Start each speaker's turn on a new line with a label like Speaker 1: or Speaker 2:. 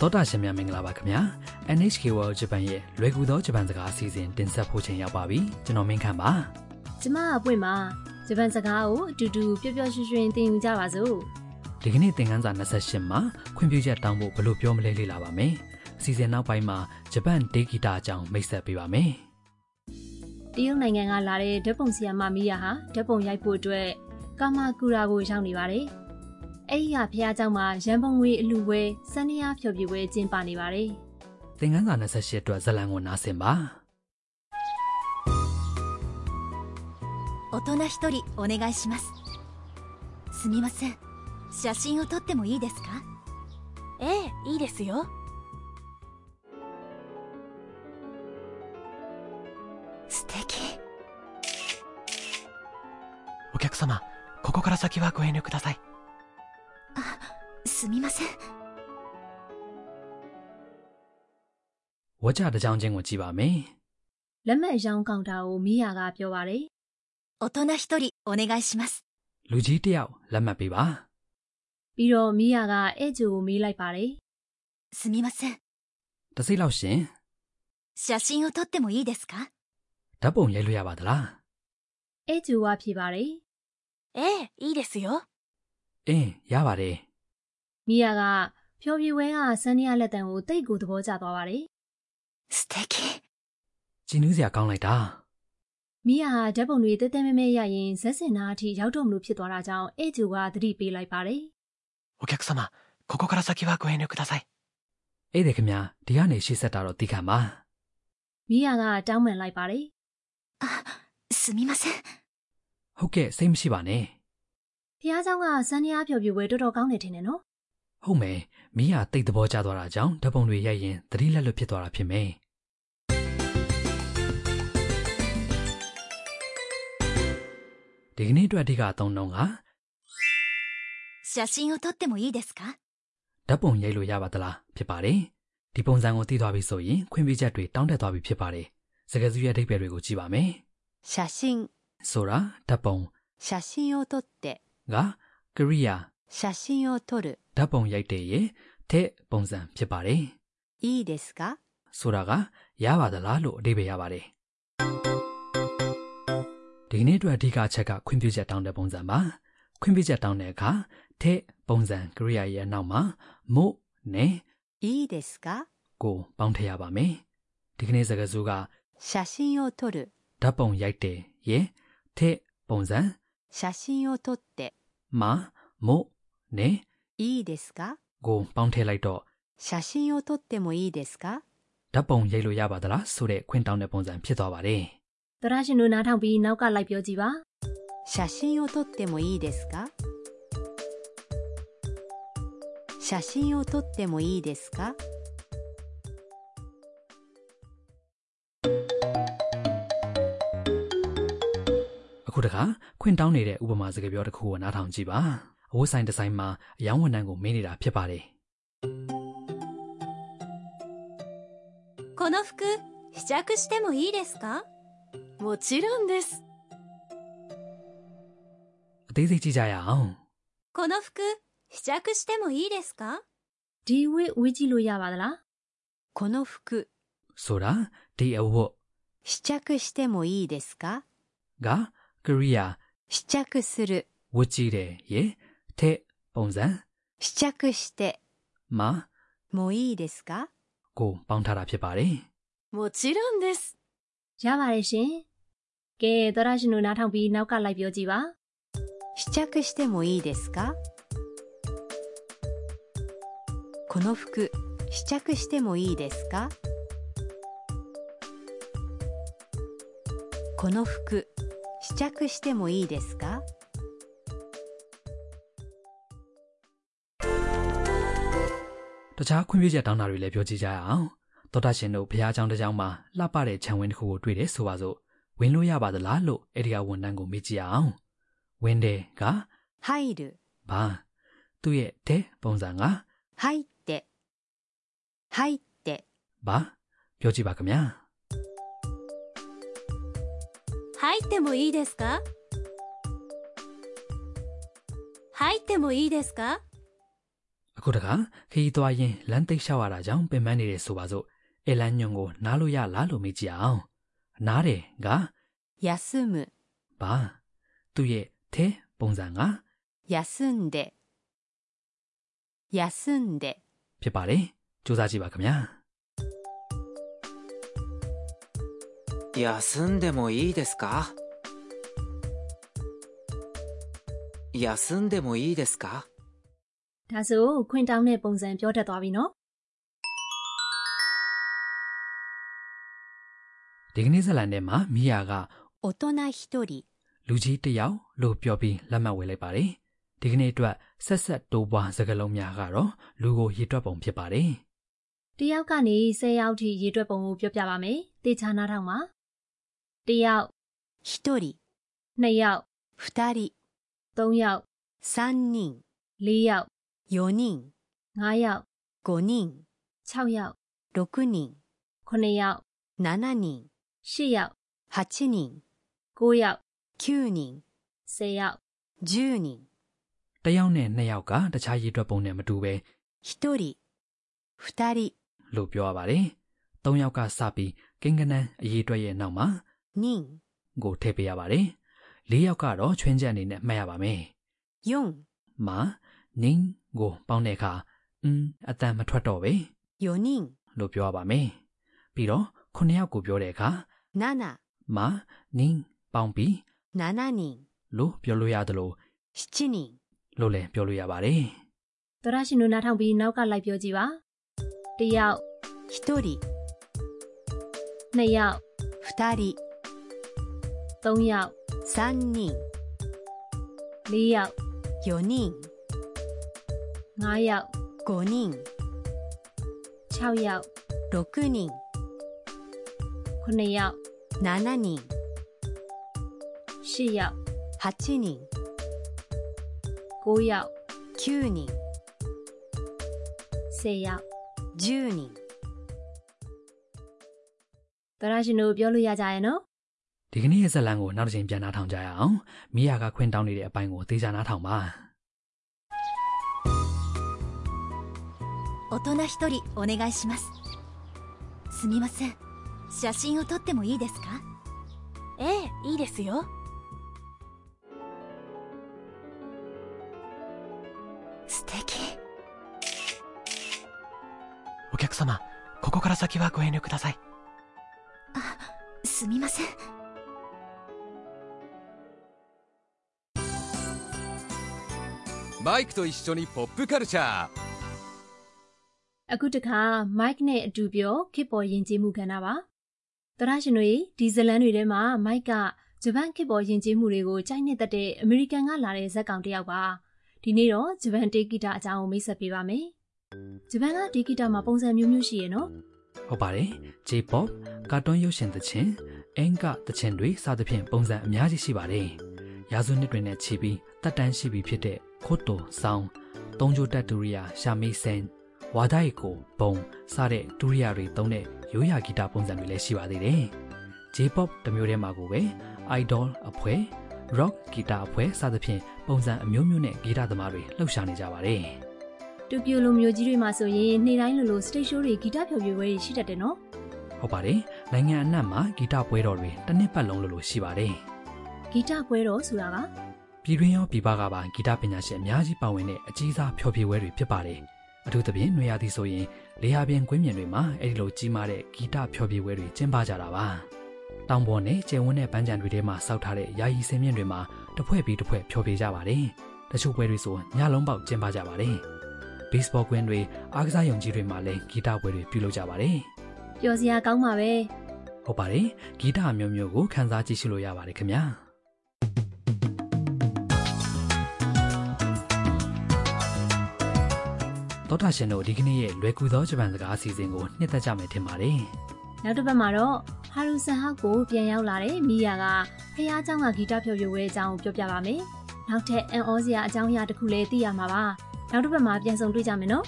Speaker 1: သောတာရှင်များမင်္ဂလာပါခင်ဗျာ NHK World Japan ရဲ့လွယ်ကူသောဂျပန်စကားအစီအစဉ်တင်ဆက်ဖို့ချိန်ရောက်ပါပြီကျွန်တော်မင်းခမ်းပါ
Speaker 2: ကျမအပွင့်ပါဂျပန်စကားကိုအတူတူပျော်ပျော်ရွှင်ရွှင်သင်ယူကြပါစို့
Speaker 1: ဒီကနေ့သင်ခန်းစာ28မှာခွင့်ပြုချက်တောင်းဖို့ဘယ်လိုပြောမလဲလေ့လာပါမယ်အစီအစဉ်နောက်ပိုင်းမှာဂျပန်ဒေဂီတာအကြောင်းမိတ်ဆက်ပေးပါမယ်
Speaker 2: တရုတ်နိုင်ငံကလာတဲ့ဓာတ်ပုံဆီယာမမီယာဟာဓာတ်ပုံရိုက်ဖို့အတွက်ကာမာကူရာကိုရောက်နေပါတယ်အဲ့ဒီကဖះเจ้าမှာရန်ပုံငွေအလူပွဲစန္ဒယာဖျော်ဖြေပွဲကျင်းပနေပါတယ်
Speaker 1: သင်ခန်းစာ28အတွက်ဇာတ်လမ်းကိုနားဆင်ပါ
Speaker 3: 大人一人お願いしますすみません写真を撮ってもいいですかええいいですよ素敵
Speaker 4: お客様、ここから先はご遠慮ください。
Speaker 3: すみません
Speaker 1: ဝါကြတစ်ကြောင်းချင်းကိုကြည့်ပါမယ်
Speaker 2: လက်မှတ်အရောင်းကောင်တာကိုမီယာကပြောပါတယ်
Speaker 3: 大人一人お願いします
Speaker 1: လူကြီးတစ်ယောက်လက်မှတ်ပေးပါ
Speaker 2: ပြီးတော့မီယာကအဲ့ဂျူကိုမေးလိုက်ပါတယ်
Speaker 3: すみません
Speaker 1: တစ်စိတ်လောက်ရှင်
Speaker 3: 写真を撮ってもいいですか
Speaker 1: ဓာတ်ပုံရိုက်လို့ရပါသလား
Speaker 2: အဲ့ဂျူကဖြေပါတယ်
Speaker 3: ええいいですよ
Speaker 1: အင်းရပါတယ်
Speaker 2: မီယာကဖျော်ဖြေပွဲကစန္ဒယာလက်တံကိုတိတ်ကိုသဘောကျသွားပါတယ်
Speaker 3: 素敵
Speaker 1: ကြည်နူးစရာကောင်းလိုက်တာ
Speaker 2: မီယာဟာဓာတ်ပုံတွေတဲတဲမဲမဲရရင်ဇက်စင်နာအထိရောက်တော့မလို့ဖြစ်သွားတာကြောင့်အဲ့ဂျူကသတိပေးလိုက်ပါတယ်
Speaker 4: お客様、ここから先はご遠慮ください。
Speaker 1: အေးတယ်ခင်ဗျာဒီကနေရှေ့ဆက်တာတော့တီးခံပါ
Speaker 2: မီယာကတောင်းပန်လိုက်ပါတယ်
Speaker 3: すみません
Speaker 1: ဟုတ်ကဲ့စိတ်မရှိပါနဲ့
Speaker 2: ။ဖះเจ้าကစန်းရားဖြော်ပြပွဲတော်တော်ကောင်းတယ်ထင်တယ်နော်
Speaker 1: ဟုတ်မယ်မိဟာတိတ်သဘောကျသွားတာကြောင့်ဓာတ်ပုံတွေရိုက်ရင်သတိလက်လွတ်ဖြစ်သွားတာဖြစ်မယ်ဒီကနေ့အတွက်အဓိကအသုံးနှုန်းက
Speaker 3: 写真を撮ってもいいですか
Speaker 1: ဓာတ်ပုံရိုက်လို့ရပါသလားဖြစ်ပါတယ်ဒီပုံစံကိုသိသွားပြီဆိုရင်ခွင့်ပြုချက်တွေတောင်းတက်သွားပြီဖြစ်ပါတယ်စကားစုရဲ့အဓိပ္ပာယ်တွေကိုကြည့်ပါမယ်
Speaker 5: 写真
Speaker 1: ဆိုတာဓာတ်ပုံ
Speaker 5: 写真を撮って
Speaker 1: ကကရိယာ
Speaker 5: 写真を撮る
Speaker 1: ဓာတ်ပုံရိုက်တဲ့ရဲ့တဲ့ပုံစံဖြစ်ပါတယ်
Speaker 5: いいですか
Speaker 1: ဆိုတာကရပါသလားလို့အဓိပ္ပာယ်ရပါတယ်ဒီကနေ့အတွက်အဓိကအချက်ကခွင့်ပြုချက်တောင်းတဲ့ပုံစံပါခွင့်ပြုချက်တောင်းတဲ့အခါတဲ့ပုံစံကရိယာရဲ့အနောက်မှာမို့နဲ့
Speaker 5: いいですか
Speaker 1: ကိုပေါင်းထည့်ရပါမယ်ဒီကနေ့စကားစုက
Speaker 5: 写真を撮る
Speaker 1: ဓာတ်ပုံရိုက်တယ်ရဲ့တဲ့ပုံစံ
Speaker 5: 写真を撮って
Speaker 1: မှာမို့နဲ့
Speaker 5: いいですか
Speaker 1: ကိုပေါင်းထည့်လိုက်တော့
Speaker 5: 写真を撮ってもいいですか
Speaker 1: ဓာတ်ပုံရိုက်လို့ရပါသလားဆိုတဲ့ခွင့်တောင်းတဲ့ပုံစံဖြစ်သွားပါတယ်
Speaker 2: ။သရရှင်တို့နားထောင်ပြီးနောက်ကလိုက်ပြောကြည့်ပါ
Speaker 5: 写真を撮ってもいいですか写真を撮ってもいいですか
Speaker 1: အခုတခါခွင့်တောင်းနေတဲ့ဥပမာစကားပြောတစ်ခုကိုနားထောင်ကြည့်ပါအဝတ်ဆိုင်ဒီဇိုင်းမှာအယောင်ဝန်ထမ်းကိုမင်းနေတာဖြစ်ပါတယ်
Speaker 3: この服試着してもいいですかもちろんです
Speaker 1: အသေးစိတ်ကြည့်ကြရအောင်
Speaker 3: この服試着してもいいですか
Speaker 2: ။ဒီဝိဝေးကြည့်လို့ရပါသလား
Speaker 5: この服
Speaker 1: ဆိုတာဒီအဝတ်
Speaker 5: 試着してもいいですか
Speaker 1: ကကရိယာ
Speaker 5: 試着する
Speaker 1: ဝတ်ကြည့်တယ်ရေတဲ့ပုံစံ
Speaker 5: 試着して
Speaker 1: မှာ
Speaker 5: もいいですか
Speaker 1: ကိုပေါင်းထားတာဖြစ်ပါတယ်
Speaker 3: もちろんです
Speaker 2: ။ရပါတယ်ရှင်။ကဲသရရှင်တို့နားထောင်ပြီးနောက်ကလိုက်ပြောကြည့်ပါ
Speaker 5: 試着してもいいですかこの服試着してもいいですかこの服試着してもいいですか
Speaker 1: တခြားခွင့်ပြုချက်တောင်းတာတွေလည်းပြောကြည့်ကြရအောင်သောတာရှင်တို့ဘုရားကျောင်းတစ်ကျောင်းမှာလှပတဲ့ခြံဝင်းတစ်ခုကိုတွေ့တယ်ဆိုပါစို့ဝင်လို့ရပါသလားလို့အဲ့ဒီကဝန်ထမ်းကိုမေးကြည့်ရအောင်ဝင်တယ်က
Speaker 5: 入る
Speaker 1: ဘာသူ့ရဲ့တဲ့ပုံစံက
Speaker 5: 入って入って
Speaker 1: ဘာပြောကြည့်ပါခင်ဗျာ
Speaker 3: 入ってもいいですか入ってもいいですか
Speaker 1: အ အခုတခါခရီးသွားရင်လမ်းသိပ်လျှောက်ရတာကြောင့်ပင်ပန်းနေတယ်ဆိုပါစို့အဲလမ်းညွန်ကိုနားလို့ရလားလို့မေးကြည့်အောင်နားတယ်က
Speaker 5: 休む、
Speaker 1: ဘာသူ့ရဲ့ထဲပုံစံက
Speaker 5: 休んで、休んで、
Speaker 1: ဖြစ်ပါတယ်စူးစမ်းကြည့်ပါခင်ဗျာ
Speaker 6: 休んでもいいですか休んでもいいですか
Speaker 2: ဒါဆိုခွင့်တောင်းတဲ့ပုံစံပြောတတ်သွားပြီနော်
Speaker 1: ဒီကနေ့ဇတ်လန်ထဲမှာမိယာက
Speaker 5: 大人一人、
Speaker 1: လူကြီးတစ်ယောက်လို့ပြောပြီးလက်မှတ်ဝေလိုက်ပါတယ်ဒီကနေ့အတွက်ဆက်ဆက်တိုးပွားစကားလုံးများကတော့လူကိုရေတွက်ပုံဖြစ်ပါတယ်
Speaker 2: တယောက်ကနေ10ယောက်ထိရေတွက်ပုံကိုပြောပြပါမယ်တေချာနာထောင်ပါတယောက်
Speaker 5: 一人、
Speaker 2: နှစ်ယောက်
Speaker 5: 二人、
Speaker 2: သုံးယောက်
Speaker 5: 三人、
Speaker 2: လေးယောက်
Speaker 5: 四人、
Speaker 2: ငါးယောက်
Speaker 5: 五人、
Speaker 2: 6ယောက်
Speaker 5: 六人、
Speaker 2: 9ယောက်
Speaker 5: 七人、
Speaker 2: 10ယောက်
Speaker 5: 八人、
Speaker 2: 9ယောက်
Speaker 5: 九人、
Speaker 2: 10ယောက်
Speaker 5: 十人、
Speaker 1: တစ်ယောက်နဲ့နှစ်ယောက်ကတခြားရေတွက်ပုံနဲ့မတူပဲ
Speaker 5: 一人、二人、
Speaker 1: လို့ပြောရပါတယ်။၃ယောက်ကစပြီးကိန်းကနန်းအရေးအတွက်ရဲ့နောက်မှာ
Speaker 5: 人、
Speaker 1: ကိုထည့်ပေးရပါတယ်။၄ယောက်ကတော့ချွင်းချက်အနေနဲ့မှတ်ရပါမယ်
Speaker 5: 四、
Speaker 1: ။မာနင်းကိုပေါင်းတဲ့အခါအင်းအတန်မထွက်တော့ပဲ
Speaker 5: 四人、
Speaker 1: လို့ပြောရပါမယ်။ပြီးတော့9ယောက်ကိုပြောတဲ့အခါ
Speaker 5: 七、
Speaker 1: မာနင်းပေါင်းပြီး
Speaker 5: 七人、
Speaker 1: လို့ပြောလို့ရတယ်လို့
Speaker 5: 七人、
Speaker 1: လို့လည်းပြောလို့ရပါတယ်
Speaker 2: သောရရှင်တို့နားထောင်ပြီးနောက်ကလိုက်ပြောကြည့်ပါတယောက်
Speaker 5: 一人、
Speaker 2: နှစ်ယောက်
Speaker 5: 二人、
Speaker 2: သုံးယောက်
Speaker 5: 三人、
Speaker 2: လေးယောက်
Speaker 5: 四人、
Speaker 2: ငါးယောက်
Speaker 5: 五人、
Speaker 2: 6ယောက်
Speaker 5: 六人、
Speaker 2: 9ယောက်
Speaker 5: 七人、
Speaker 2: 10ယောက်
Speaker 5: 八人、
Speaker 2: 9ယောက်
Speaker 5: 九人、
Speaker 2: 10ယောက်
Speaker 5: 十人、
Speaker 2: သောရရှင်တို့ပြောလို့ရကြရဲ့နော်
Speaker 1: ။ဒီကနေ့ရဲ့ဇာတ်လမ်းကိုနောက်တစ်ချိန်ပြန်နှာထောင်ကြရအောင်။မိယာကခွင့်တောင်းနေတဲ့အပိုင်းကိုသေချာနှာထောင်ပါ
Speaker 3: 大人一人お願いしますすみません写真を撮ってもいいですかええいいですよ素敵
Speaker 4: お客様、ここから先はご遠慮ください。
Speaker 3: すみません
Speaker 7: マイクと一緒にポップカルチャー
Speaker 2: အခုတခါမိုက်နဲ့အတူပြောခေတ်ပေါ်ယဉ်ကျေးမှုကဏ္ဍပါသောရရှင်တို့ရေဒီဇလန်တွေထဲမှာမိုက်ကဂျပန်ခေတ်ပေါ်ယဉ်ကျေးမှုတွေကိုကြိုက်နှစ်သက်တဲ့အမေရိကန်ကလာတဲ့ဇာတ်ကောင်တစ်ယောက်ပါဒီနေ့တော့ဂျပန်တေဂီတာအကြောင်းကိုမိတ်ဆက်ပေးပါမယ်ဂျပန်ကတေဂီတာမှာပုံစံမျိုးမျိုးရှိရဲ့နော်
Speaker 1: ။ဟုတ်ပါတယ်။ J-pop ကာတွန်းရုပ်ရှင်သချင်းအင်ကသချင်းတွေစသဖြင့်ပုံစံအများကြီးရှိပါတယ်။ရာစုနှစ်တွေနဲ့ချီပြီးတတ်တန်းရှိပြီဖြစ်တဲ့ခိုတိုဆောင်၊တုံးကျိုတတ်တူရီယာရှာမေးဆန်ဝါဒိုက်ကိုပုံစတဲ့ဒူရီယာတွေသုံးတဲ့ရိုးရာဂီတပုံစံတွေလည်းရှိပါသေးတယ်။ J-pop တစ်မျိုးတည်းမှာကိုပဲ idol အဖွဲ့၊ rock ဂီတအဖွဲ့စသဖြင့်ပုံစံအမျိုးမျိုးနဲ့ဂီတသမားတွေလှုပ်ရှားနေကြပါတယ်။
Speaker 2: တိုကျိုလိုမျိုးကြီးတွေမှာဆိုရင်နေ့တိုင်းလိုလိုစတိတ်ရှိုးတွေဂီတဖျော်ဖြေပွဲတွေရှိတတ်တယ်နော်
Speaker 1: ဟုတ်ပါတယ်။နိုင်ငံအနှံ့မှာဂီတပွဲတော်တွေတစ်နှစ်ပတ်လုံးလို့လို့ရှိပါတယ်
Speaker 2: ဂီတပွဲတော်ဆိုတာက
Speaker 1: ။ပြည်တွင်းရောပြည်ပကပါဂီတပညာရှင်အများကြီးပါဝင်တဲ့အကြီးစားဖျော်ဖြေပွဲတွေဖြစ်ပါတယ်။အထူးသဖြင့်နွေရာသီဆိုရင်လေယာပြင်ကွင်းပြင်တွေမှာအဲဒီလိုကြီးမားတဲ့ဂီတဖျော်ဖြေပွဲတွေကျင်းပကြတာပါ။တောင်ပေါ်နဲ့ကျယ်ဝန်းတဲ့ပန်းခြံတွေထဲမှာစောက်ထားတဲ့ယာယီစင်မြင့်တွေမှာတစ်ဖွဲ့ပြီးတစ်ဖွဲ့ဖျော်ဖြေကြပါတယ်။တချို့ပွဲတွေဆိုညလုံးပေါက်ကျင်းပကြပါတယ်။ baseball ကွင်းတွေအားကစားရုံကြီးတွေမှာလည်းဂီတပွဲတွေပြုလုပ်ကြပါတယ်။
Speaker 2: ပျော်စရာကောင်းပါပဲ
Speaker 1: ဟုတ်ပါတယ်ဂီတအမျိုးမျိုးကိုခန်းစားကြည့်ရှုလို့ရပါတယ်ခင်ဗျာတော်တာရှင်တို့ဒီကနေ့ရဲ့လွယ်ကူသောဂျပန်စကားအစီအစဉ်ကိုနှစ်သက်ကြမယ်ထင်ပါတယ်
Speaker 2: နောက်တစ်ပတ်မှာတော့ဟာရူဆန်ဟောက်ကိုပြန်ရောက်လာတဲ့မိယာကဖះเจ้าကဂီတဖျော်ဖြေပွဲအကြောင်းကိုပြောပြပါမယ်နောက်ထပ်အန်အောစရာအကြောင်းအရာတစ်ခုလည်းသိရမှာပါနောက်တစ်ပတ်မှာပြန်ဆုံတွေ့ကြမယ်နော်